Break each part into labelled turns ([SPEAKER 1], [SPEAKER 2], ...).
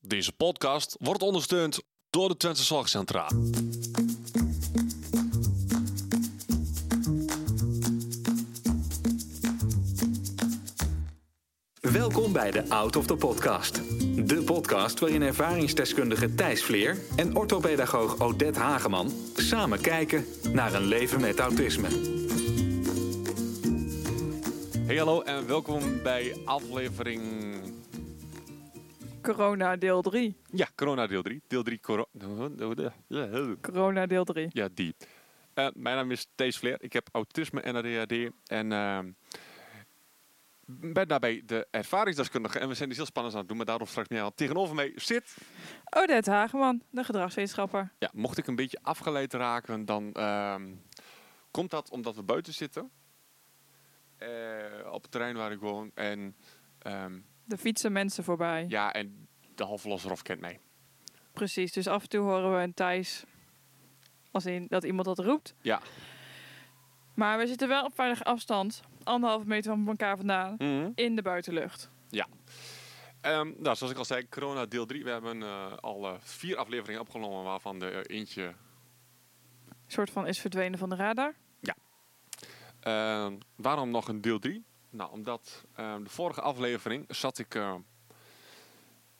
[SPEAKER 1] Deze podcast wordt ondersteund door de Twente Zorgcentra.
[SPEAKER 2] Welkom bij de Out of the Podcast. De podcast waarin ervaringsdeskundige Thijs Vleer en orthopedagoog Odette Hageman samen kijken naar een leven met autisme.
[SPEAKER 1] Hey hallo en welkom bij aflevering...
[SPEAKER 3] Corona deel 3.
[SPEAKER 1] Ja, corona deel 3. Deel 3 corona...
[SPEAKER 3] Corona deel 3.
[SPEAKER 1] Ja, die. Eh, mijn naam is Thees Vleer. Ik heb autisme en ADHD. En eh, ben daarbij de ervaringsdeskundige. En we zijn iets heel spannends aan het doen, maar daarom straks niet aan. Tegenover mij zit...
[SPEAKER 3] Odette Hageman, de gedragswetenschapper.
[SPEAKER 1] Ja, mocht ik een beetje afgeleid raken, dan ehm, komt dat omdat we buiten zitten. Eh, op het terrein waar ik woon. En, ehm,
[SPEAKER 3] De fietsen mensen voorbij.
[SPEAKER 1] ja, en de halflosserhof kent mij.
[SPEAKER 3] Precies, dus af en toe horen we een Thijs. Als in dat iemand dat roept.
[SPEAKER 1] Ja.
[SPEAKER 3] Maar we zitten wel op veilige afstand. Anderhalve meter van elkaar vandaan.
[SPEAKER 1] Mhm.
[SPEAKER 3] In de buitenlucht.
[SPEAKER 1] Ehm, nou, zoals ik al zei, corona deel 3. We hebben eh, al eh, vier afleveringen opgenomen, waarvan de eh, eentje
[SPEAKER 3] Een soort van is verdwenen van de radar.
[SPEAKER 1] Ehm, waarom nog een deel 3? Nou, omdat ehm, de vorige aflevering zat ik eh,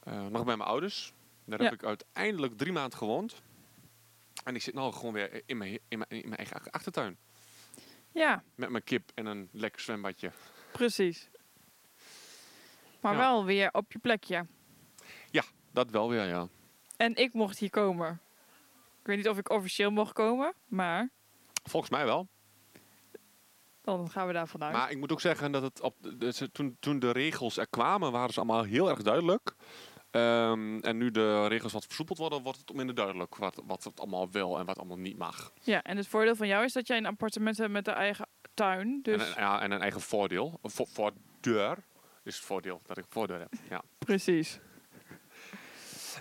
[SPEAKER 1] eh, nog bij mijn ouders. Daar heb
[SPEAKER 3] Ja.
[SPEAKER 1] ik uiteindelijk drie maanden gewoond. En ik zit nu gewoon weer in mijn, in mijn, in mijn eigen ach- achtertuin.
[SPEAKER 3] Ja,
[SPEAKER 1] Met mijn kip en een lekker zwembadje.
[SPEAKER 3] precies. Maar
[SPEAKER 1] Ja.
[SPEAKER 3] wel weer op je plekje.
[SPEAKER 1] Dat wel weer, ja.
[SPEAKER 3] En ik mocht hier komen. Ik weet niet of ik officieel mocht komen. Maar
[SPEAKER 1] Volgens mij wel.
[SPEAKER 3] dan gaan we daar vanuit.
[SPEAKER 1] Maar ik moet ook zeggen dat het op dat ze toen, toen de regels er kwamen, waren ze allemaal heel erg duidelijk. Ehm, en nu de regels wat versoepeld worden, wordt het minder duidelijk wat, wat het allemaal wel en wat allemaal niet mag.
[SPEAKER 3] Ja, en het voordeel van jou is dat jij een appartement hebt met een eigen tuin. Dus
[SPEAKER 1] En, een, ja, en een eigen voordeel. Vo voordeur is het voordeel dat ik een voordeur heb. Ja.
[SPEAKER 3] precies.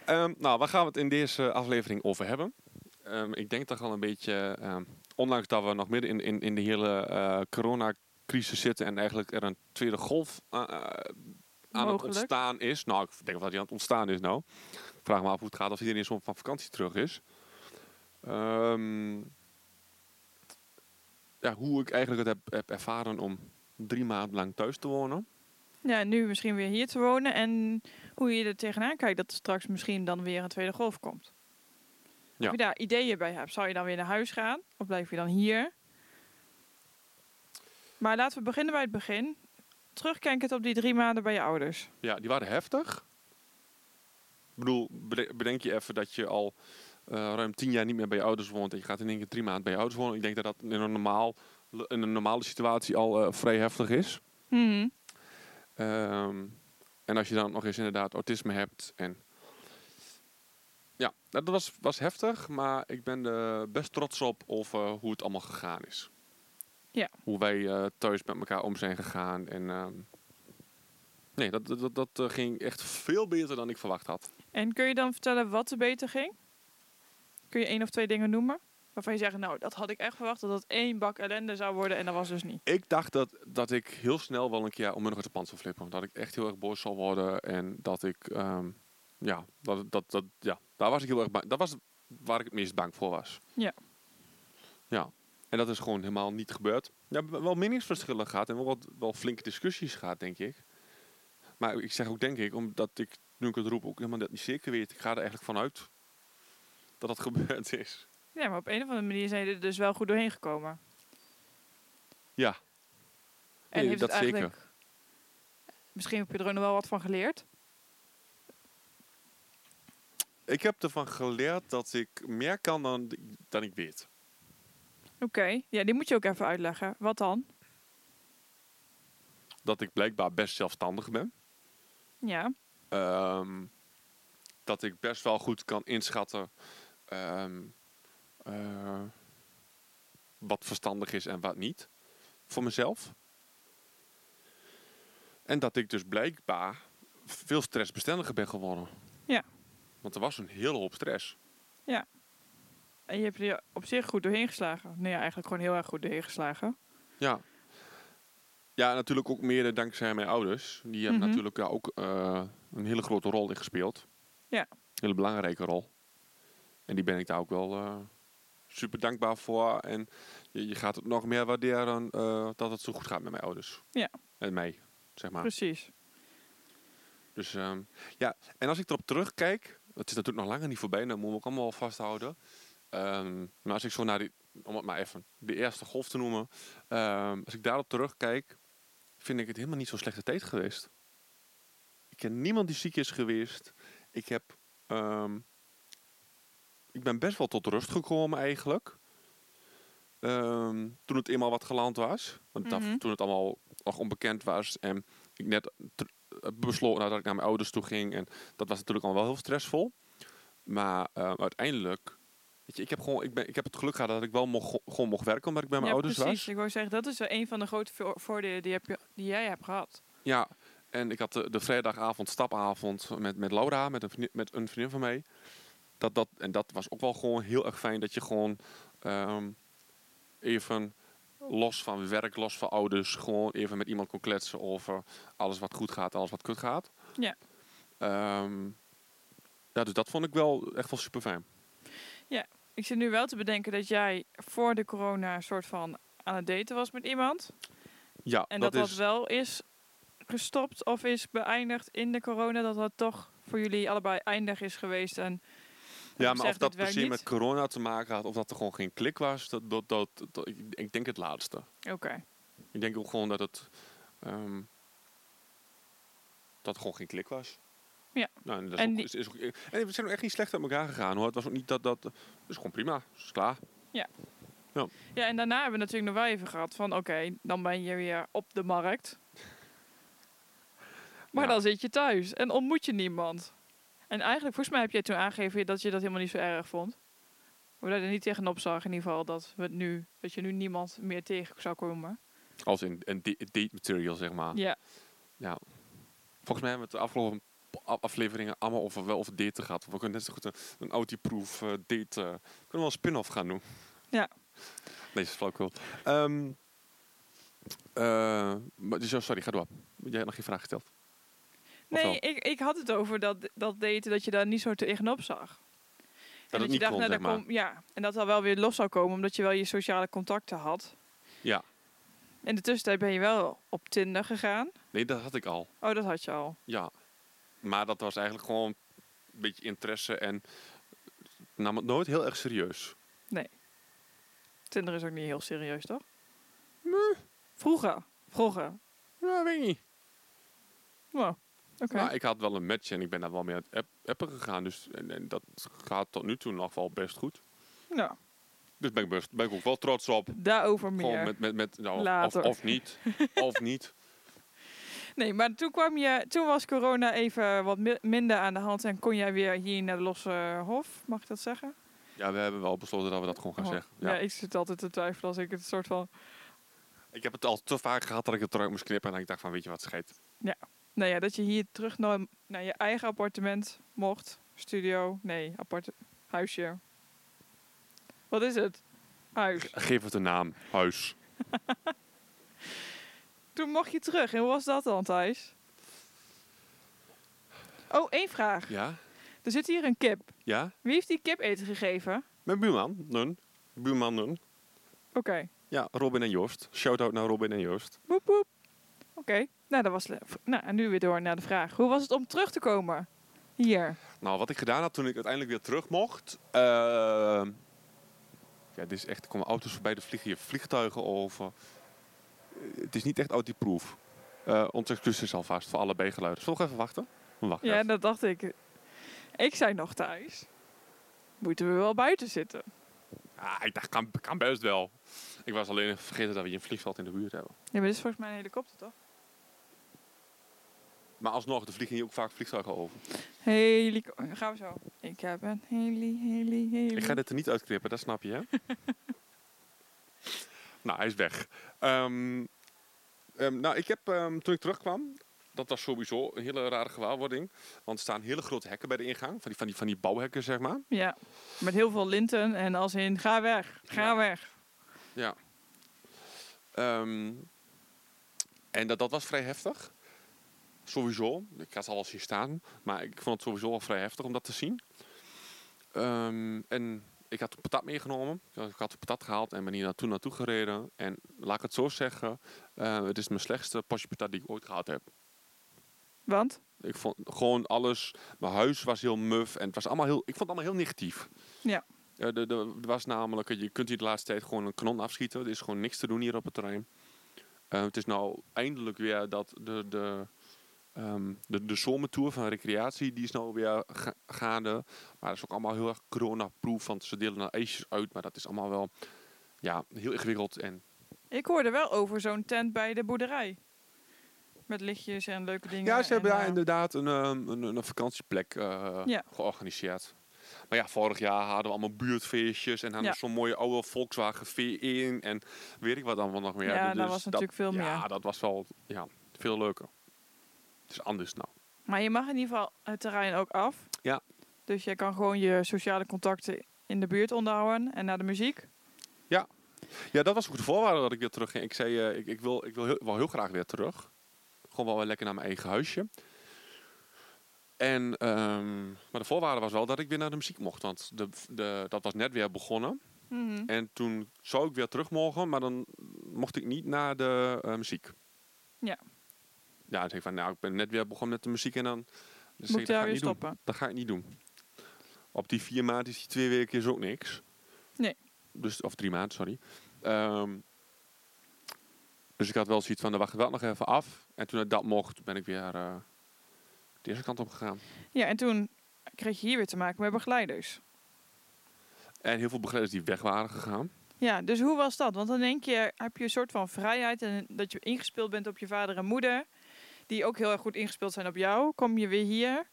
[SPEAKER 1] Ehm, nou, waar gaan we het in deze aflevering over hebben? Ehm, ik denk toch wel een beetje, ehm, ondanks dat we nog midden in, in, in de hele eh, coronacrisis zitten en eigenlijk er een tweede golf eh, eh, aan het
[SPEAKER 3] Mogelijk.
[SPEAKER 1] ontstaan is. Nou, ik denk wel dat die aan het ontstaan is nou. Ik vraag me af hoe het gaat als iedereen zo van vakantie terug is. Ehm, ja, hoe ik eigenlijk het heb, heb ervaren om drie maanden lang thuis te wonen.
[SPEAKER 3] Ja, en nu misschien weer hier te wonen. En hoe je er tegenaan kijkt dat er straks misschien dan weer een tweede golf komt.
[SPEAKER 1] Ja.
[SPEAKER 3] Of je daar ideeën bij hebt. Zou je dan weer naar huis gaan? Of blijf je dan hier? Maar laten we beginnen bij het begin. Terugkijkend op die drie maanden bij je ouders.
[SPEAKER 1] Ja, die waren heftig. Ik bedoel, bede- bedenk je even dat je al eh, ruim tien jaar niet meer bij je ouders woont. En je gaat in één keer drie maanden bij je ouders wonen. Ik denk dat dat in een, normaal, in een normale situatie al eh, vrij heftig is.
[SPEAKER 3] Mhm.
[SPEAKER 1] Ehm, en als je dan nog eens inderdaad autisme hebt. En ja, dat was, was heftig. Maar ik ben er best trots op over hoe het allemaal gegaan is.
[SPEAKER 3] Ja.
[SPEAKER 1] Hoe wij eh, thuis met elkaar om zijn gegaan. En ehm, nee, dat, dat, dat, dat, eh, ging echt veel beter dan ik verwacht had.
[SPEAKER 3] En kun je dan vertellen wat er beter ging? Kun je één of twee dingen noemen? Waarvan je zegt, nou, dat had ik echt verwacht. Dat dat één bak ellende zou worden. En dat was dus niet.
[SPEAKER 1] Ik dacht dat, dat ik heel snel wel een keer om uit de pand zou flippen. Dat ik echt heel erg boos zou worden. En dat ik, ehm, ja, dat, dat, dat, ja, daar was ik heel erg bang. Dat was waar ik het meest bang voor was.
[SPEAKER 3] Ja.
[SPEAKER 1] Ja. En dat is gewoon helemaal niet gebeurd. Ja, we hebben wel meningsverschillen gehad en wel, wat, wel flinke discussies gehad, denk ik. Maar ik zeg ook, denk ik, omdat ik nu ik het roep ook helemaal dat niet zeker weet. Ik ga er eigenlijk vanuit dat dat gebeurd is.
[SPEAKER 3] Ja, maar op een of andere manier zijn jullie er dus wel goed doorheen gekomen.
[SPEAKER 1] Ja.
[SPEAKER 3] En
[SPEAKER 1] Nee,
[SPEAKER 3] heeft
[SPEAKER 1] dat
[SPEAKER 3] het
[SPEAKER 1] zeker.
[SPEAKER 3] eigenlijk... Misschien heb je er ook nog wel wat van geleerd.
[SPEAKER 1] Ik heb ervan geleerd dat ik meer kan dan, dan ik weet.
[SPEAKER 3] Oké, ja, die moet je ook even uitleggen. Wat dan?
[SPEAKER 1] Dat ik blijkbaar best zelfstandig ben.
[SPEAKER 3] Ja,
[SPEAKER 1] Ehm, dat ik best wel goed kan inschatten ehm, eh, wat verstandig is en wat niet voor mezelf. En dat ik dus blijkbaar veel stressbestendiger ben geworden.
[SPEAKER 3] Ja.
[SPEAKER 1] Want er was een hele hoop stress.
[SPEAKER 3] en je hebt er op zich goed doorheen geslagen. Nee, ja, eigenlijk gewoon heel erg goed doorheen geslagen.
[SPEAKER 1] Ja. Ja, natuurlijk ook mede dankzij mijn ouders. Die hebben
[SPEAKER 3] Mhm.
[SPEAKER 1] natuurlijk ja, ook eh, een hele grote rol in gespeeld.
[SPEAKER 3] Ja.
[SPEAKER 1] hele belangrijke rol. En die ben ik daar ook wel eh, super dankbaar voor. En je, je gaat het nog meer waarderen eh, dat het zo goed gaat met mijn ouders.
[SPEAKER 3] Ja.
[SPEAKER 1] En mij, zeg maar.
[SPEAKER 3] Precies.
[SPEAKER 1] Dus ehm, ja, en als ik erop terugkijk, het is natuurlijk nog langer niet voorbij, dat moeten we ook allemaal vasthouden. Ehm, maar als ik zo naar die, om het maar even de eerste golf te noemen, ehm, als ik daarop terugkijk, vind ik het helemaal niet zo'n slechte tijd geweest. Ik ken niemand die ziek is geweest. Ik heb, ehm, ik ben best wel tot rust gekomen eigenlijk. Ehm, toen het eenmaal wat geland was, want dat-
[SPEAKER 3] Mhm.
[SPEAKER 1] toen het allemaal nog onbekend was en ik net ter- besloten nadat ik naar mijn ouders toe ging. En dat was natuurlijk al wel heel stressvol. Maar ehm, uiteindelijk, weet je, ik heb, gewoon, ik, ben, ik heb het geluk gehad dat ik wel mocht, gewoon mocht werken omdat ik bij mijn
[SPEAKER 3] ja,
[SPEAKER 1] ouders
[SPEAKER 3] precies.
[SPEAKER 1] was.
[SPEAKER 3] Ik wou zeggen, dat is wel een van de grote vo- voordelen die, heb je, die jij hebt gehad.
[SPEAKER 1] Ja, en ik had de, de vrijdagavond stapavond met, met Laura, met een, vriendin, met een vriendin van mij. Dat, dat, en dat was ook wel gewoon heel erg fijn dat je gewoon ehm, even los van werk, los van ouders, gewoon even met iemand kon kletsen over alles wat goed gaat, alles wat kut gaat.
[SPEAKER 3] Ja.
[SPEAKER 1] Ehm, ja, dus dat vond ik wel echt wel super fijn.
[SPEAKER 3] Ik zit nu wel te bedenken dat jij voor de corona een soort van aan het daten was met iemand.
[SPEAKER 1] Ja,
[SPEAKER 3] En dat dat,
[SPEAKER 1] is,
[SPEAKER 3] wel is gestopt of is beëindigd in de corona. Dat dat toch voor jullie allebei eindig is geweest. En
[SPEAKER 1] ja, maar
[SPEAKER 3] zegt,
[SPEAKER 1] of dat
[SPEAKER 3] dit werkt
[SPEAKER 1] precies met
[SPEAKER 3] niet.
[SPEAKER 1] corona te maken had, of dat er gewoon geen klik was, dat, dat, dat, dat- ik, ik denk het laatste.
[SPEAKER 3] oké.
[SPEAKER 1] Ik denk ook gewoon dat het. ehm, dat het gewoon geen klik was.
[SPEAKER 3] Ja.
[SPEAKER 1] Nou, en, dat
[SPEAKER 3] En
[SPEAKER 1] is ook,
[SPEAKER 3] die-
[SPEAKER 1] is, is ook, en we zijn ook echt niet slecht uit elkaar gegaan hoor. Het was ook niet dat dat. Het is gewoon prima. Het is klaar.
[SPEAKER 3] Ja, en daarna hebben we natuurlijk nog wel even gehad van... oké, dan ben je weer op de markt. Maar
[SPEAKER 1] Ja.
[SPEAKER 3] dan zit je thuis en ontmoet je niemand. En eigenlijk, volgens mij heb jij toen aangegeven dat je dat helemaal niet zo erg vond. Hoe dat je er niet tegenop zag in ieder geval dat, we het nu, dat je nu niemand meer tegen zou komen.
[SPEAKER 1] Als in een da- date material zeg maar.
[SPEAKER 3] Ja,
[SPEAKER 1] Volgens mij hebben we het de afgelopen p- a- afleveringen allemaal over wel over daten gehad. We kunnen net zo goed een, een autiproof eh date. eh, kunnen we wel een spin-off gaan doen.
[SPEAKER 3] Ja.
[SPEAKER 1] Nee, dat is flauwkul. Ehm eh, maar, dus, oh, sorry, ga door. Jij hebt nog geen vraag gesteld. Of wel?
[SPEAKER 3] Nee, ik, ik had het over dat, dat daten dat je daar niet zo tegenop zag.
[SPEAKER 1] het niet kon,
[SPEAKER 3] nou,
[SPEAKER 1] zeg
[SPEAKER 3] daar
[SPEAKER 1] maar.
[SPEAKER 3] kom- ja, en dat dat wel weer los zou komen omdat je wel je sociale contacten had.
[SPEAKER 1] Ja.
[SPEAKER 3] In de tussentijd ben je wel op Tinder gegaan.
[SPEAKER 1] Nee, dat had ik al.
[SPEAKER 3] Oh, dat had je al.
[SPEAKER 1] Ja, maar dat was eigenlijk gewoon een beetje interesse en nam het nooit heel erg serieus.
[SPEAKER 3] Tinder is ook niet heel serieus, toch? Vroeger. Vroeger.
[SPEAKER 1] Ja, weet ik niet.
[SPEAKER 3] Wow. Oké.
[SPEAKER 1] Maar Nou, ik had wel een match en ik ben daar wel mee aan het app- appen gegaan. Dus en, en dat gaat tot nu toe nog wel best goed.
[SPEAKER 3] Nou,
[SPEAKER 1] Dus ben ik, best, ben ik ook wel trots op.
[SPEAKER 3] daarover meer.
[SPEAKER 1] Gewoon met, met, met nou, of-
[SPEAKER 3] Later.
[SPEAKER 1] Of, of niet. of niet.
[SPEAKER 3] Nee, maar toen kwam je, toen was corona even wat mi- minder aan de hand en kon jij weer hier naar de losse hof, mag ik dat zeggen?
[SPEAKER 1] Ja, we hebben wel besloten dat we dat gewoon gaan
[SPEAKER 3] Oh,
[SPEAKER 1] zeggen.
[SPEAKER 3] Ja.
[SPEAKER 1] Ja.
[SPEAKER 3] ik zit altijd te twijfelen als ik het soort van.
[SPEAKER 1] Ik heb het al te vaak gehad dat ik het eruit moest knippen. En ik dacht van, weet je wat, scheidt.
[SPEAKER 3] Nou ja, dat je hier terug naar, naar je eigen appartement mocht. Studio, nee, apart huisje. Wat is het? Huis.
[SPEAKER 1] Geef het een naam. Huis.
[SPEAKER 3] Toen mocht je terug. En hoe was dat dan, Thijs? Oh, één vraag.
[SPEAKER 1] Ja?
[SPEAKER 3] Er zit hier een kip.
[SPEAKER 1] Ja?
[SPEAKER 3] Wie heeft die kip eten gegeven?
[SPEAKER 1] Mijn buurman, Nun. Buurman Nun.
[SPEAKER 3] Oké.
[SPEAKER 1] Ja, Robin en Joost. Shout-out naar Robin en Joost.
[SPEAKER 3] Boep, boep. Oké. Nou, dat was... le- v- Nou, en nu weer door naar de vraag. Hoe was het om terug te komen? Hier.
[SPEAKER 1] Nou, wat ik gedaan had toen ik uiteindelijk weer terug mocht... ehm, ja, dit is echt... Er komen auto's voorbij, er vliegen hier vliegtuigen over. Eh, Het is niet echt autiproof. Eh ons excuses alvast voor alle bijgeluiden. Zullen we nog even wachten? We wachten
[SPEAKER 3] Ja,
[SPEAKER 1] even.
[SPEAKER 3] dat dacht ik. Ik zei nog thuis. Moeten we wel buiten zitten?
[SPEAKER 1] Ah, ik dacht, kan, kan best wel. Ik was alleen even vergeten dat we hier een vliegveld in de buurt hebben.
[SPEAKER 3] Ja, maar dit is volgens mij een helikopter, toch?
[SPEAKER 1] Maar alsnog, er vliegen hier ook vaak vliegtuigen over.
[SPEAKER 3] Helikopter. oh, Gaan we zo. Ik heb een heli, heli, heli.
[SPEAKER 1] Ik ga dit er niet uitknippen, dat snap je, hè? nou, hij is weg. Ehm, ehm, nou, ik heb ehm, toen ik terugkwam, dat was sowieso een hele rare gewaarwording. Want er staan hele grote hekken bij de ingang, van die, van die, van die bouwhekken, zeg maar.
[SPEAKER 3] Ja, met heel veel linten en als in ga weg, ga
[SPEAKER 1] Ja.
[SPEAKER 3] weg.
[SPEAKER 1] Ja. Ehm, en dat, dat was vrij heftig. sowieso, ik had het al wel zien staan, maar ik vond het sowieso al vrij heftig om dat te zien. Ehm, en ik had een patat meegenomen. Ik had een patat gehaald en ben hier naartoe naartoe gereden. En laat ik het zo zeggen, eh, het is mijn slechtste pasje patat die ik ooit gehad heb.
[SPEAKER 3] Want?
[SPEAKER 1] Ik vond gewoon alles. Mijn huis was heel muf en het was allemaal heel. Ik vond het allemaal heel negatief.
[SPEAKER 3] Ja.
[SPEAKER 1] Eh, de- de- Er was namelijk, je kunt hier de laatste tijd gewoon een kanon afschieten. Er is gewoon niks te doen hier op het terrein. Eh, het is nou eindelijk weer dat de, de, ehm, de, de zomertour van recreatie, die is nou weer ga- gaande. Maar dat is ook allemaal heel erg coronaproof, want ze delen nou ijsjes uit. Maar dat is allemaal wel ja, heel ingewikkeld. En
[SPEAKER 3] Ik hoorde wel over zo'n tent bij de boerderij. Met lichtjes en leuke dingen.
[SPEAKER 1] Ja, ze hebben
[SPEAKER 3] en,
[SPEAKER 1] daar
[SPEAKER 3] eh,
[SPEAKER 1] inderdaad een, ehm, een, een vakantieplek eh,
[SPEAKER 3] Ja.
[SPEAKER 1] georganiseerd. Maar ja, vorig jaar hadden we allemaal buurtfeestjes en hadden
[SPEAKER 3] Ja.
[SPEAKER 1] we zo'n mooie oude Volkswagen V1 en weet ik wat dan nog meer. Dus
[SPEAKER 3] Ja, dat was natuurlijk veel
[SPEAKER 1] Ja,
[SPEAKER 3] meer.
[SPEAKER 1] dat was wel ja, veel leuker. Het is anders nou.
[SPEAKER 3] Maar je mag in ieder geval het terrein ook af.
[SPEAKER 1] Ja.
[SPEAKER 3] Dus jij kan gewoon je sociale contacten in de buurt onderhouden en naar de muziek.
[SPEAKER 1] Ja, dat was ook de voorwaarde dat ik weer terug ging. Ik zei, eh, ik, ik wil, ik wil heel, wel heel graag weer terug. Gewoon wel weer lekker naar mijn eigen huisje. En, ehm, maar de voorwaarde was wel dat ik weer naar de muziek mocht. Want de, de, dat was net weer begonnen.
[SPEAKER 3] Mhm,
[SPEAKER 1] En toen zou ik weer terug mogen, maar dan mocht ik niet naar de eh, muziek.
[SPEAKER 3] Ja.
[SPEAKER 1] Ja, ik zei van, nou, ik ben net weer begonnen met de muziek en dan... Dus
[SPEAKER 3] Moet
[SPEAKER 1] ik, dat
[SPEAKER 3] ik
[SPEAKER 1] ga
[SPEAKER 3] daar
[SPEAKER 1] ik
[SPEAKER 3] weer
[SPEAKER 1] niet doen.
[SPEAKER 3] stoppen.
[SPEAKER 1] Dat ga ik niet doen. Op die vier maanden is die twee weken is ook niks.
[SPEAKER 3] Nee.
[SPEAKER 1] Dus, of drie maanden, sorry. Ehm, dus ik had wel zoiets van, dan wacht ik wel nog even af. En toen ik dat mocht, ben ik weer eh, de eerste kant op gegaan.
[SPEAKER 3] Ja, en toen kreeg je hier weer te maken met begeleiders.
[SPEAKER 1] En heel veel begeleiders die weg waren gegaan.
[SPEAKER 3] Ja, dus hoe was dat? Want dan denk je, heb je een soort van vrijheid en dat je ingespeeld bent op je vader en moeder, die ook heel erg goed ingespeeld zijn op jou. Kom je weer hier,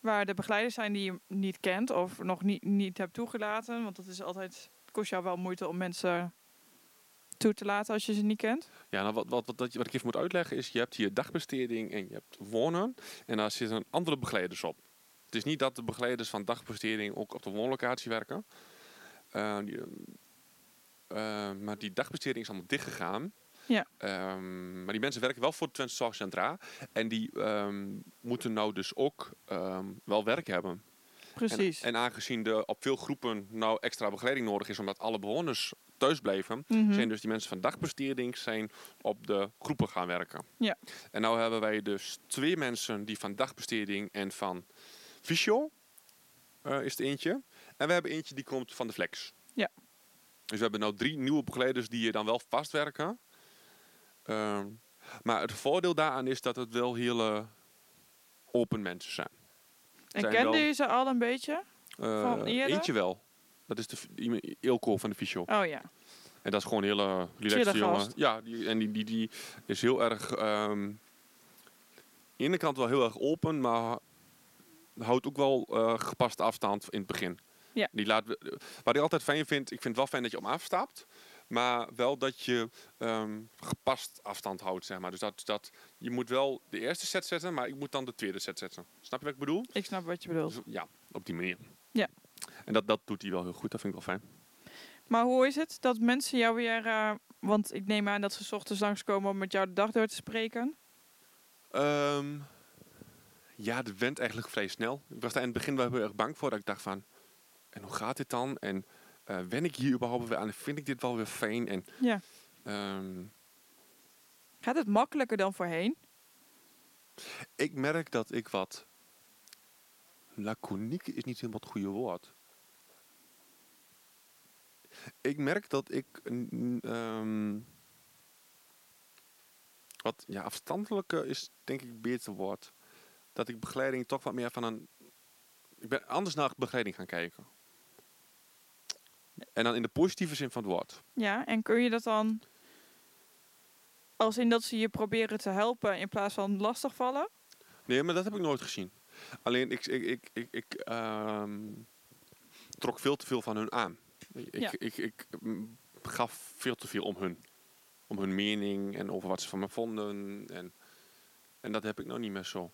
[SPEAKER 3] waar de begeleiders zijn die je niet kent of nog niet, niet hebt toegelaten, want dat is altijd, het kost jou wel moeite om mensen toe te laten als je ze niet kent.
[SPEAKER 1] Ja, nou, wat, wat, wat, dat je- wat ik even moet uitleggen is, je hebt hier dagbesteding en je hebt wonen. En daar zitten andere begeleiders op. Het is niet dat de begeleiders van dagbesteding ook op de woonlocatie werken. Eh, die, eh, eh, maar die dagbesteding is allemaal dichtgegaan.
[SPEAKER 3] Ja.
[SPEAKER 1] Ehm, maar die mensen werken wel voor de Twente Zorgcentra. En die ehm, moeten nou dus ook ehm, wel werk hebben.
[SPEAKER 3] Precies.
[SPEAKER 1] En, en aangezien er op veel groepen nou extra begeleiding nodig is... omdat alle bewoners thuis blijven...
[SPEAKER 3] Mhm.
[SPEAKER 1] zijn dus die mensen van dagbesteding zijn op de groepen gaan werken.
[SPEAKER 3] Ja.
[SPEAKER 1] En nou hebben wij dus twee mensen die van dagbesteding en van fysio eh, is het eentje. En we hebben eentje die komt van de flex.
[SPEAKER 3] Ja.
[SPEAKER 1] Dus we hebben nou drie nieuwe begeleiders die je dan wel vastwerken. Ehm, maar het voordeel daaraan is dat het wel hele open mensen zijn.
[SPEAKER 3] En
[SPEAKER 1] zijn
[SPEAKER 3] kende
[SPEAKER 1] wel-
[SPEAKER 3] je ze al een beetje?
[SPEAKER 1] Eh,
[SPEAKER 3] Van eerder?
[SPEAKER 1] Eentje wel. Dat is de f- die- Eelco van de fysio.
[SPEAKER 3] Oh ja.
[SPEAKER 1] En dat is gewoon een hele
[SPEAKER 3] Chille
[SPEAKER 1] relaxte jongen.
[SPEAKER 3] gast.
[SPEAKER 1] Ja, die, en die, die, die is heel erg... ehm, aan de ene kant wel heel erg open, maar houdt ook wel eh gepaste afstand in het begin.
[SPEAKER 3] Ja.
[SPEAKER 1] Die laat, wat ik altijd fijn vind, ik vind het wel fijn dat je om afstapt. Maar wel dat je ehm, gepast afstand houdt, zeg maar. Dus dat, dat, je moet wel de eerste set zetten, maar ik moet dan de tweede set zetten. Snap je wat ik bedoel?
[SPEAKER 3] Ik snap wat je bedoelt.
[SPEAKER 1] Dus ja, op die manier.
[SPEAKER 3] Ja.
[SPEAKER 1] En dat, dat doet hij wel heel goed, dat vind ik wel fijn.
[SPEAKER 3] Maar hoe is het dat mensen jou weer... eh, want ik neem aan dat ze 's ochtends langskomen om met jou de dag door te spreken.
[SPEAKER 1] Ehm, ja, dat went eigenlijk vrij snel. Ik was daar in het begin wel heel erg bang voor. Dat ik dacht van, en hoe gaat dit dan? En eh wen ik hier überhaupt weer aan? En Vind ik dit wel weer fijn? En,
[SPEAKER 3] Ja.
[SPEAKER 1] ehm,
[SPEAKER 3] Gaat het makkelijker dan voorheen?
[SPEAKER 1] ik merk dat ik wat... Laconiek is niet helemaal het goede woord. Ik merk dat ik... mm, ehm, wat ja, afstandelijker is denk ik beter woord. Dat ik begeleiding toch wat meer van een... Ik ben anders naar begeleiding gaan kijken. En dan in de positieve zin van het woord.
[SPEAKER 3] Ja, en kun je dat dan... Als in dat ze je proberen te helpen in plaats van lastigvallen?
[SPEAKER 1] Nee, maar dat heb ik nooit gezien. Alleen ik, ik, ik, ik, ik, ehm, trok veel te veel van hun aan. Ik,
[SPEAKER 3] Ja.
[SPEAKER 1] ik, ik, ik, mm, gaf veel te veel om hun. Om hun mening en over wat ze van me vonden. En, en dat heb ik nou niet meer zo.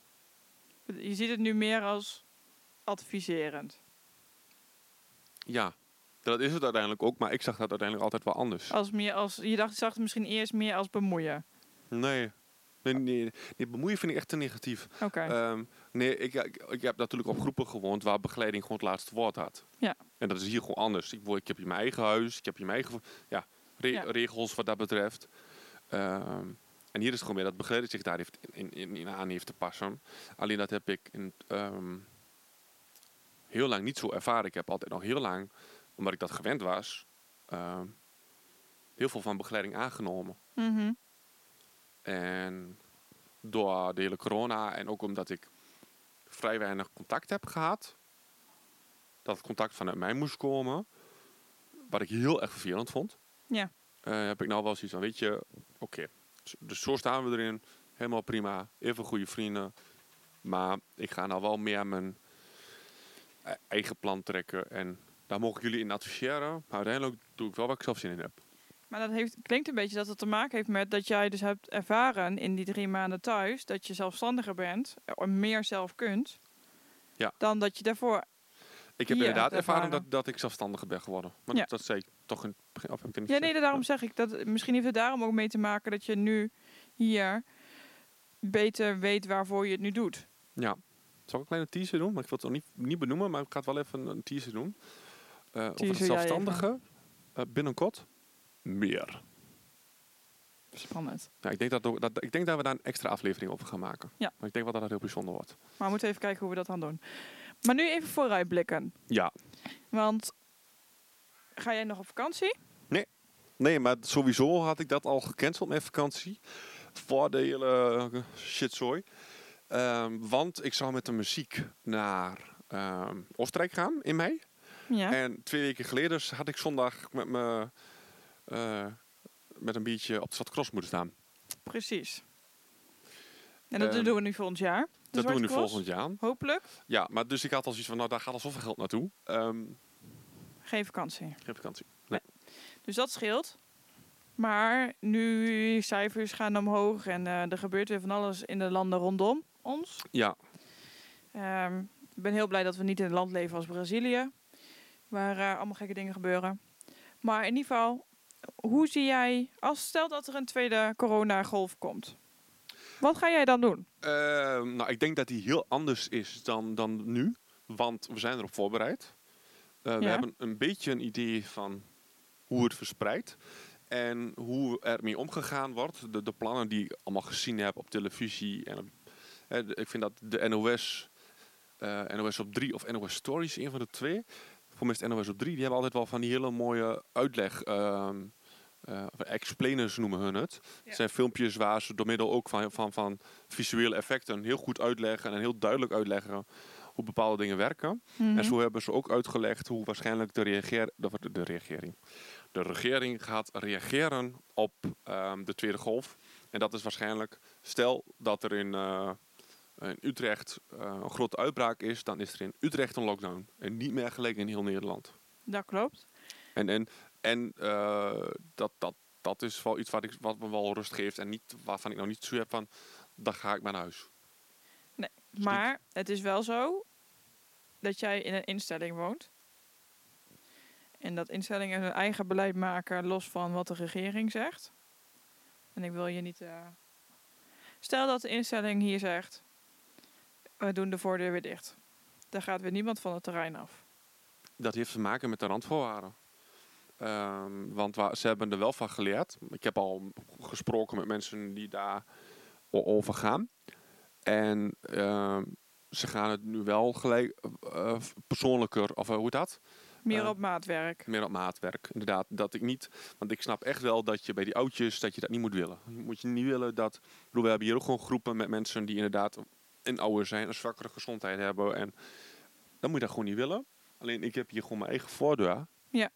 [SPEAKER 3] Je ziet het nu meer als adviserend.
[SPEAKER 1] Ja, dat is het uiteindelijk ook. Maar ik zag dat
[SPEAKER 3] Oh.
[SPEAKER 1] uiteindelijk altijd wel anders.
[SPEAKER 3] Als meer als, je dacht, zag het misschien eerst meer als bemoeien.
[SPEAKER 1] Nee. Nee, nee, nee, bemoeien vind ik echt te negatief.
[SPEAKER 3] Oké.
[SPEAKER 1] Ehm, nee, ik, ik, ik heb natuurlijk op groepen gewoond waar begeleiding gewoon het laatste woord had.
[SPEAKER 3] Ja.
[SPEAKER 1] En dat is hier gewoon anders. Ik, woon- ik heb hier mijn eigen huis, ik heb hier mijn eigen ja, re-
[SPEAKER 3] Ja.
[SPEAKER 1] regels wat dat betreft. Ehm, en hier is het gewoon meer dat begeleider zich daar heeft in, in, in aan heeft te passen. Alleen dat heb ik in, ehm, heel lang niet zo ervaren. Ik heb altijd nog heel lang, omdat ik dat gewend was, ehm, heel veel van begeleiding aangenomen.
[SPEAKER 3] Mhm.
[SPEAKER 1] En door de hele corona en ook omdat ik vrij weinig contact heb gehad, dat het contact vanuit mij moest komen, wat ik heel erg vervelend vond,
[SPEAKER 3] Ja.
[SPEAKER 1] eh, heb ik nou wel zoiets van, weet je, oké, z- dus zo staan we erin, helemaal prima, even goede vrienden, maar ik ga nou wel meer mijn e- eigen plan trekken en daar mogen jullie in adviseren, maar uiteindelijk doe ik wel waar ik zelf zin in heb.
[SPEAKER 3] Maar dat heeft, klinkt een beetje dat het te maken heeft met dat jij dus hebt ervaren in die drie maanden thuis dat je zelfstandiger bent eh, en meer zelf kunt.
[SPEAKER 1] Ja.
[SPEAKER 3] Dan dat je daarvoor.
[SPEAKER 1] Ik heb
[SPEAKER 3] Hier
[SPEAKER 1] inderdaad
[SPEAKER 3] hebt
[SPEAKER 1] ervaren
[SPEAKER 3] ervaren.
[SPEAKER 1] dat, dat ik zelfstandiger ben geworden. Maar
[SPEAKER 3] Ja.
[SPEAKER 1] dat, dat zei ik toch in het begin. Of heb ik het niet
[SPEAKER 3] Ja, nee,
[SPEAKER 1] gezegd?
[SPEAKER 3] daarom zeg ik dat. Misschien heeft het daarom ook mee te maken dat je nu hier beter weet waarvoor je het nu doet.
[SPEAKER 1] Ja. Zal ik een kleine teaser doen? Maar ik wil het nog niet, niet benoemen, maar ik ga het wel even een teaser doen. Eh over
[SPEAKER 3] Teaser
[SPEAKER 1] het
[SPEAKER 3] jij
[SPEAKER 1] zelfstandige eh, binnenkort meer.
[SPEAKER 3] Spannend.
[SPEAKER 1] Ja, ik, denk dat, ook- dat, ik denk dat we daar een extra aflevering over gaan maken.
[SPEAKER 3] Ja.
[SPEAKER 1] Maar ik denk wel dat dat heel bijzonder wordt.
[SPEAKER 3] Maar we moeten even kijken hoe we dat gaan doen. Maar nu even vooruitblikken.
[SPEAKER 1] Ja.
[SPEAKER 3] Want ga jij nog op vakantie?
[SPEAKER 1] Nee, maar sowieso had ik dat al gecanceld met vakantie. Voor de hele eh, shitzooi. Ehm, want ik zou met de muziek naar ehm, Oostenrijk gaan in mei.
[SPEAKER 3] Ja.
[SPEAKER 1] En twee weken geleden s- had ik zondag met me eh, met een biertje op de Stad Cross moeten staan.
[SPEAKER 3] Precies. En dat
[SPEAKER 1] Ehm,
[SPEAKER 3] doen we nu volgend jaar. de
[SPEAKER 1] dat doen
[SPEAKER 3] Zwarte
[SPEAKER 1] we nu
[SPEAKER 3] Cross.
[SPEAKER 1] volgend jaar.
[SPEAKER 3] Hopelijk.
[SPEAKER 1] Ja, maar dus ik had al zoiets van, nou daar gaat al zoveel geld naartoe. Ehm
[SPEAKER 3] Geen vakantie.
[SPEAKER 1] geen vakantie.
[SPEAKER 3] Dus dat scheelt. Maar nu cijfers gaan omhoog en eh, er gebeurt weer van alles in de landen rondom ons.
[SPEAKER 1] Ja,
[SPEAKER 3] Ehm, ik ben heel blij dat we niet in een land leven als Brazilië, waar eh, allemaal gekke dingen gebeuren. Maar in ieder geval, hoe zie jij, als stel dat er een tweede coronagolf komt, wat ga jij dan doen?
[SPEAKER 1] Ehm, nou ik denk dat die heel anders is dan, dan nu. Want we zijn erop voorbereid. Eh, We
[SPEAKER 3] Ja.
[SPEAKER 1] hebben een beetje een idee van hoe het verspreidt. En hoe ermee omgegaan wordt. De, de plannen die ik allemaal gezien heb op televisie. En op- hè, de- ik vind dat de NOS, eh, NOS op 3 of NOS Stories, een van de twee. Voor mij is het NOS op 3. Die hebben altijd wel van die hele mooie uitleg. ehm, eh, of explainers noemen hun het.
[SPEAKER 3] Ja.
[SPEAKER 1] Het zijn filmpjes waar ze door middel ook van, van, van visuele effecten heel goed uitleggen. En heel duidelijk uitleggen hoe bepaalde dingen werken. En zo hebben ze ook uitgelegd hoe waarschijnlijk de, reageer, de, de- de regering. De regering gaat reageren op ehm, de tweede golf. En dat is waarschijnlijk, stel dat er in, eh, in Utrecht eh, een grote uitbraak is, dan is er in Utrecht een lockdown. En niet meer gelijk in heel Nederland.
[SPEAKER 3] Dat klopt.
[SPEAKER 1] En, en, en eh, dat, dat, dat is wel iets wat, ik, wat me wel rust geeft. En niet, waarvan ik nou niet zo heb van, dan ga ik maar naar huis.
[SPEAKER 3] Maar het is wel zo dat jij in een instelling woont. En dat instellingen hun eigen beleid maken los van wat de regering zegt. En ik wil je niet. eh, Stel dat de instelling hier zegt: we doen de voordeur weer dicht. Dan gaat weer niemand van het terrein af.
[SPEAKER 1] Dat heeft te maken met de randvoorwaarden. Ehm, want wa- ze hebben er wel van geleerd. Ik heb al gesproken met mensen die daar o- over gaan. En ehm, ze gaan het nu wel gelijk eh, eh, persoonlijker, of eh, hoe heet dat?
[SPEAKER 3] Meer
[SPEAKER 1] Eh,
[SPEAKER 3] op maatwerk.
[SPEAKER 1] Meer op maatwerk, inderdaad. Dat ik niet, want ik snap echt wel dat je bij die oudjes dat je dat niet moet willen. Moet je niet willen dat. ik bedoel, we hebben hier ook gewoon groepen met mensen die inderdaad een ouder zijn, een zwakkere gezondheid hebben. En dan moet je dat gewoon niet willen. Alleen ik heb hier gewoon mijn eigen voordeur.
[SPEAKER 3] Ja.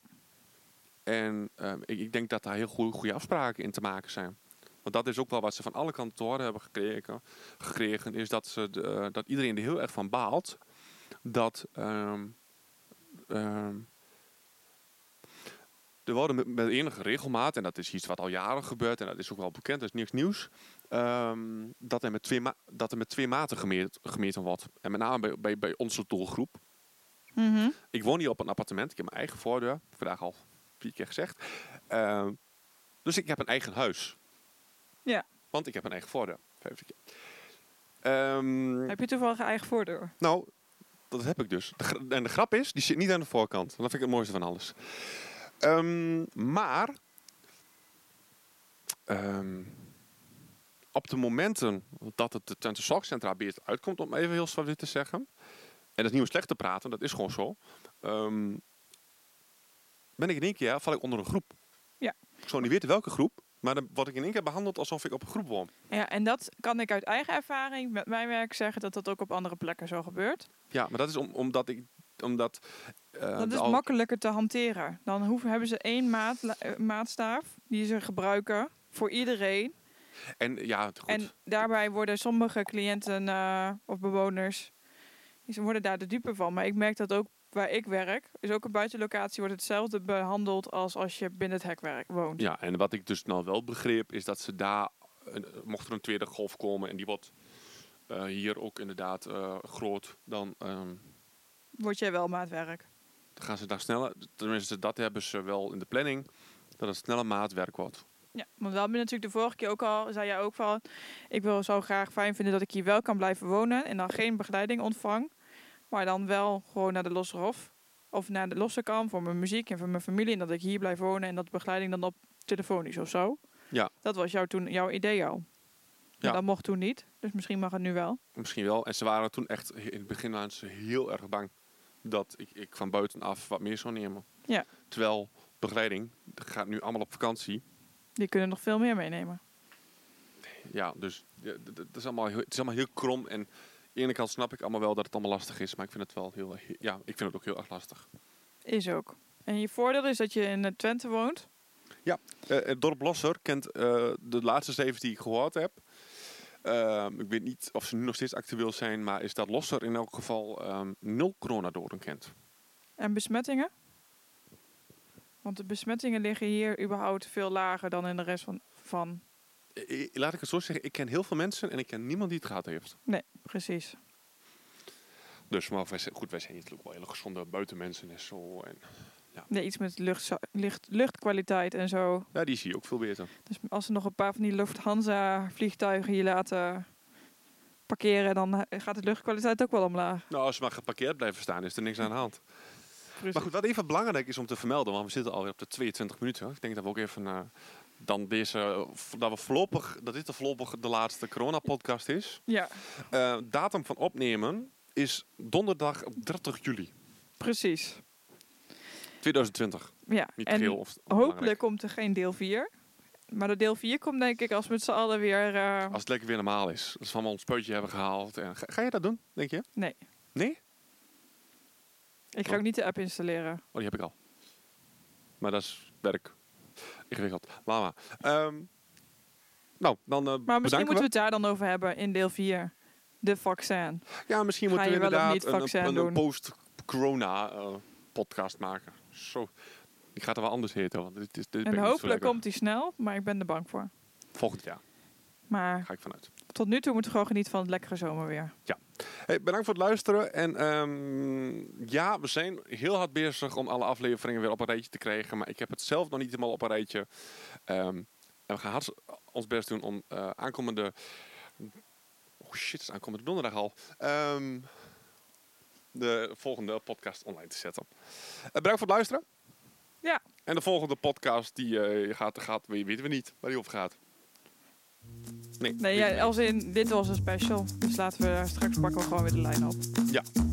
[SPEAKER 1] En ehm, ik, ik denk dat daar heel goede, goede afspraken in te maken zijn. Want dat is ook wel wat ze van alle kanten te horen hebben gekregen. gekregen is dat, ze de, eh, dat iedereen er heel erg van baalt. Dat. ehm, ehm, er worden met, met enige regelmaat, en dat is iets wat al jaren gebeurt, en dat is ook wel bekend, dat is niks nieuws, ehm, dat, er met twee ma- dat er met twee maten gemeet- gemeten wordt. En met name bij, bij, bij onze doelgroep.
[SPEAKER 3] Mhm.
[SPEAKER 1] Ik woon hier op een appartement, ik heb mijn eigen voordeur, vandaag al vier keer gezegd. Ehm, dus ik heb een eigen huis.
[SPEAKER 3] Ja.
[SPEAKER 1] Want ik heb een eigen voordeur. Even. Ehm,
[SPEAKER 3] Heb je toevallig een eigen voordeur?
[SPEAKER 1] nou, dat heb ik dus. De gra- en de grap is, die zit niet aan de voorkant. Dat vind ik het mooiste van alles. Ehm, maar, ehm, op de momenten dat het de Twente Zorgcentra beheerd uitkomt, om even heel zwart te zeggen, en dat is niet om slecht te praten, dat is gewoon zo, ehm, ben ik in één keer, val ik onder een groep.
[SPEAKER 3] Ja.
[SPEAKER 1] Ik zou niet weten welke groep, maar dan word ik in één keer behandeld alsof ik op een groep woon.
[SPEAKER 3] Ja, en dat kan ik uit eigen ervaring met mijn werk zeggen dat dat ook op andere plekken zo gebeurt.
[SPEAKER 1] Ja, maar dat is om, omdat ik omdat eh,
[SPEAKER 3] dat
[SPEAKER 1] de
[SPEAKER 3] is
[SPEAKER 1] al-
[SPEAKER 3] makkelijker te hanteren. Dan hoeven, hebben ze één maat, eh, maatstaaf die ze gebruiken voor iedereen.
[SPEAKER 1] en ja, het- goed.
[SPEAKER 3] En daarbij worden sommige cliënten eh, of bewoners, ze worden daar de dupe van. Maar ik merk dat ook waar ik werk, is ook een buitenlocatie wordt hetzelfde behandeld als als je binnen het hek werk woont.
[SPEAKER 1] ja, en wat ik dus nou wel begreep is dat ze daar een- mocht er een tweede golf komen en die wordt eh, hier ook inderdaad eh, groot, dan ehm,
[SPEAKER 3] Word jij wel maatwerk.
[SPEAKER 1] gaan ze daar sneller. Tenminste, dat hebben ze wel in de planning dat het sneller maatwerk wordt.
[SPEAKER 3] Ja, want we hebben natuurlijk de vorige keer ook al, zei jij ook van, ik wil zo graag fijn vinden dat ik hier wel kan blijven wonen en dan geen begeleiding ontvang, maar dan wel gewoon naar de losse hof of naar de losse kan voor mijn muziek en voor mijn familie en dat ik hier blijf wonen en dat de begeleiding dan op telefonisch of zo.
[SPEAKER 1] Ja.
[SPEAKER 3] Dat was jou toen jouw idee al.
[SPEAKER 1] Ja.
[SPEAKER 3] Ja. Dat mocht toen niet, dus misschien mag het nu wel.
[SPEAKER 1] Misschien wel. En ze waren toen echt he- in het begin waren ze heel erg bang dat ik, ik van buitenaf wat meer zou nemen.
[SPEAKER 3] Ja.
[SPEAKER 1] Terwijl begeleiding gaat nu allemaal op vakantie.
[SPEAKER 3] Die kunnen nog veel meer meenemen.
[SPEAKER 1] Ja, dus ja, d- d- het is, allemaal heel, het is allemaal heel krom. En aan de ene kant snap ik allemaal wel dat het allemaal lastig is. Maar ik vind het wel heel... he- Ja, ik vind het ook heel erg lastig.
[SPEAKER 3] Is ook. En je voordeel is dat je in eh, Twente woont.
[SPEAKER 1] Eh, het dorp Losser kent eh, de laatste zeven die ik gehoord heb. Ehm, ik weet niet of ze nu nog steeds actueel zijn. Maar is dat Losser in elk geval ehm, nul coronadoden kent.
[SPEAKER 3] En besmettingen? Want de besmettingen liggen hier überhaupt veel lager dan in de rest van, van
[SPEAKER 1] Eh, eh, laat ik het zo zeggen. Ik ken heel veel mensen en ik ken niemand die het gehad heeft.
[SPEAKER 3] precies.
[SPEAKER 1] Dus maar wij zijn, goed, wij zijn hier natuurlijk wel hele gezonde buitenmensen en zo. En,
[SPEAKER 3] Nee, iets met lucht, lucht, luchtkwaliteit en zo.
[SPEAKER 1] ja, die zie je ook veel beter.
[SPEAKER 3] Dus als ze nog een paar van die Lufthansa-vliegtuigen hier laten parkeren, dan eh, gaat de luchtkwaliteit ook wel omlaag.
[SPEAKER 1] Nou, als ze maar geparkeerd blijven staan, is er niks aan de hand. Maar goed, wat even belangrijk is om te vermelden, want we zitten alweer op de 22 minuten. Ik denk dat we ook even eh, dan deze, eh, v- dat we voorlopig, dat dit de voorlopig de laatste corona-podcast is.
[SPEAKER 3] Ja,
[SPEAKER 1] Eh, datum van opnemen is donderdag 30 juli
[SPEAKER 3] precies.
[SPEAKER 1] 2020.
[SPEAKER 3] Ja.
[SPEAKER 1] Niet
[SPEAKER 3] en
[SPEAKER 1] geheel of
[SPEAKER 3] hopelijk komt er geen deel 4. Maar de deel 4 komt denk ik als we met z'n allen weer... eh,
[SPEAKER 1] Als het lekker weer normaal is. Als we allemaal ons peutje hebben gehaald. En, ga, ga je dat doen, denk je?
[SPEAKER 3] Nee.
[SPEAKER 1] Nee?
[SPEAKER 3] ik ga ook niet de app installeren.
[SPEAKER 1] Oh, die heb ik al. Maar dat is werk. Ingewikkeld. Laat maar. Ehm, nou, dan eh
[SPEAKER 3] Maar misschien
[SPEAKER 1] bedanken
[SPEAKER 3] moeten we
[SPEAKER 1] we.
[SPEAKER 3] het daar dan over hebben in deel 4. De vaccin.
[SPEAKER 1] Ja, misschien
[SPEAKER 3] Ga
[SPEAKER 1] moeten we
[SPEAKER 3] je wel
[SPEAKER 1] inderdaad
[SPEAKER 3] of niet
[SPEAKER 1] een,
[SPEAKER 3] vaccin
[SPEAKER 1] een, een
[SPEAKER 3] doen?
[SPEAKER 1] post-corona eh, podcast maken. Zo. Ik ga het wel anders heten, want dit, is- dit ben ik
[SPEAKER 3] en
[SPEAKER 1] niet zo
[SPEAKER 3] hopelijk
[SPEAKER 1] lekker.
[SPEAKER 3] komt die snel, maar ik ben er bang voor.
[SPEAKER 1] Volgend jaar,
[SPEAKER 3] Maar
[SPEAKER 1] ga ik vanuit.
[SPEAKER 3] tot nu toe moeten we gewoon genieten van het lekkere zomerweer.
[SPEAKER 1] Hey, bedankt voor het luisteren. En ehm, ja, we zijn heel hard bezig om alle afleveringen weer op een rijtje te krijgen. Maar ik heb het zelf nog niet helemaal op een rijtje. Ehm, en we gaan hard ons best doen om eh, aankomende... Oh shit, het is aankomende donderdag al. Ehm, de volgende podcast online te zetten. Eh, bedankt voor het luisteren.
[SPEAKER 3] Ja.
[SPEAKER 1] En de volgende podcast, die eh, gaat, gaat, we- weten we niet waar die over gaat. Nee,
[SPEAKER 3] Nee,
[SPEAKER 1] weten we
[SPEAKER 3] ja, als in, dit was een special. Dus laten we straks pakken we gewoon weer de lijn op.
[SPEAKER 1] niet. ja,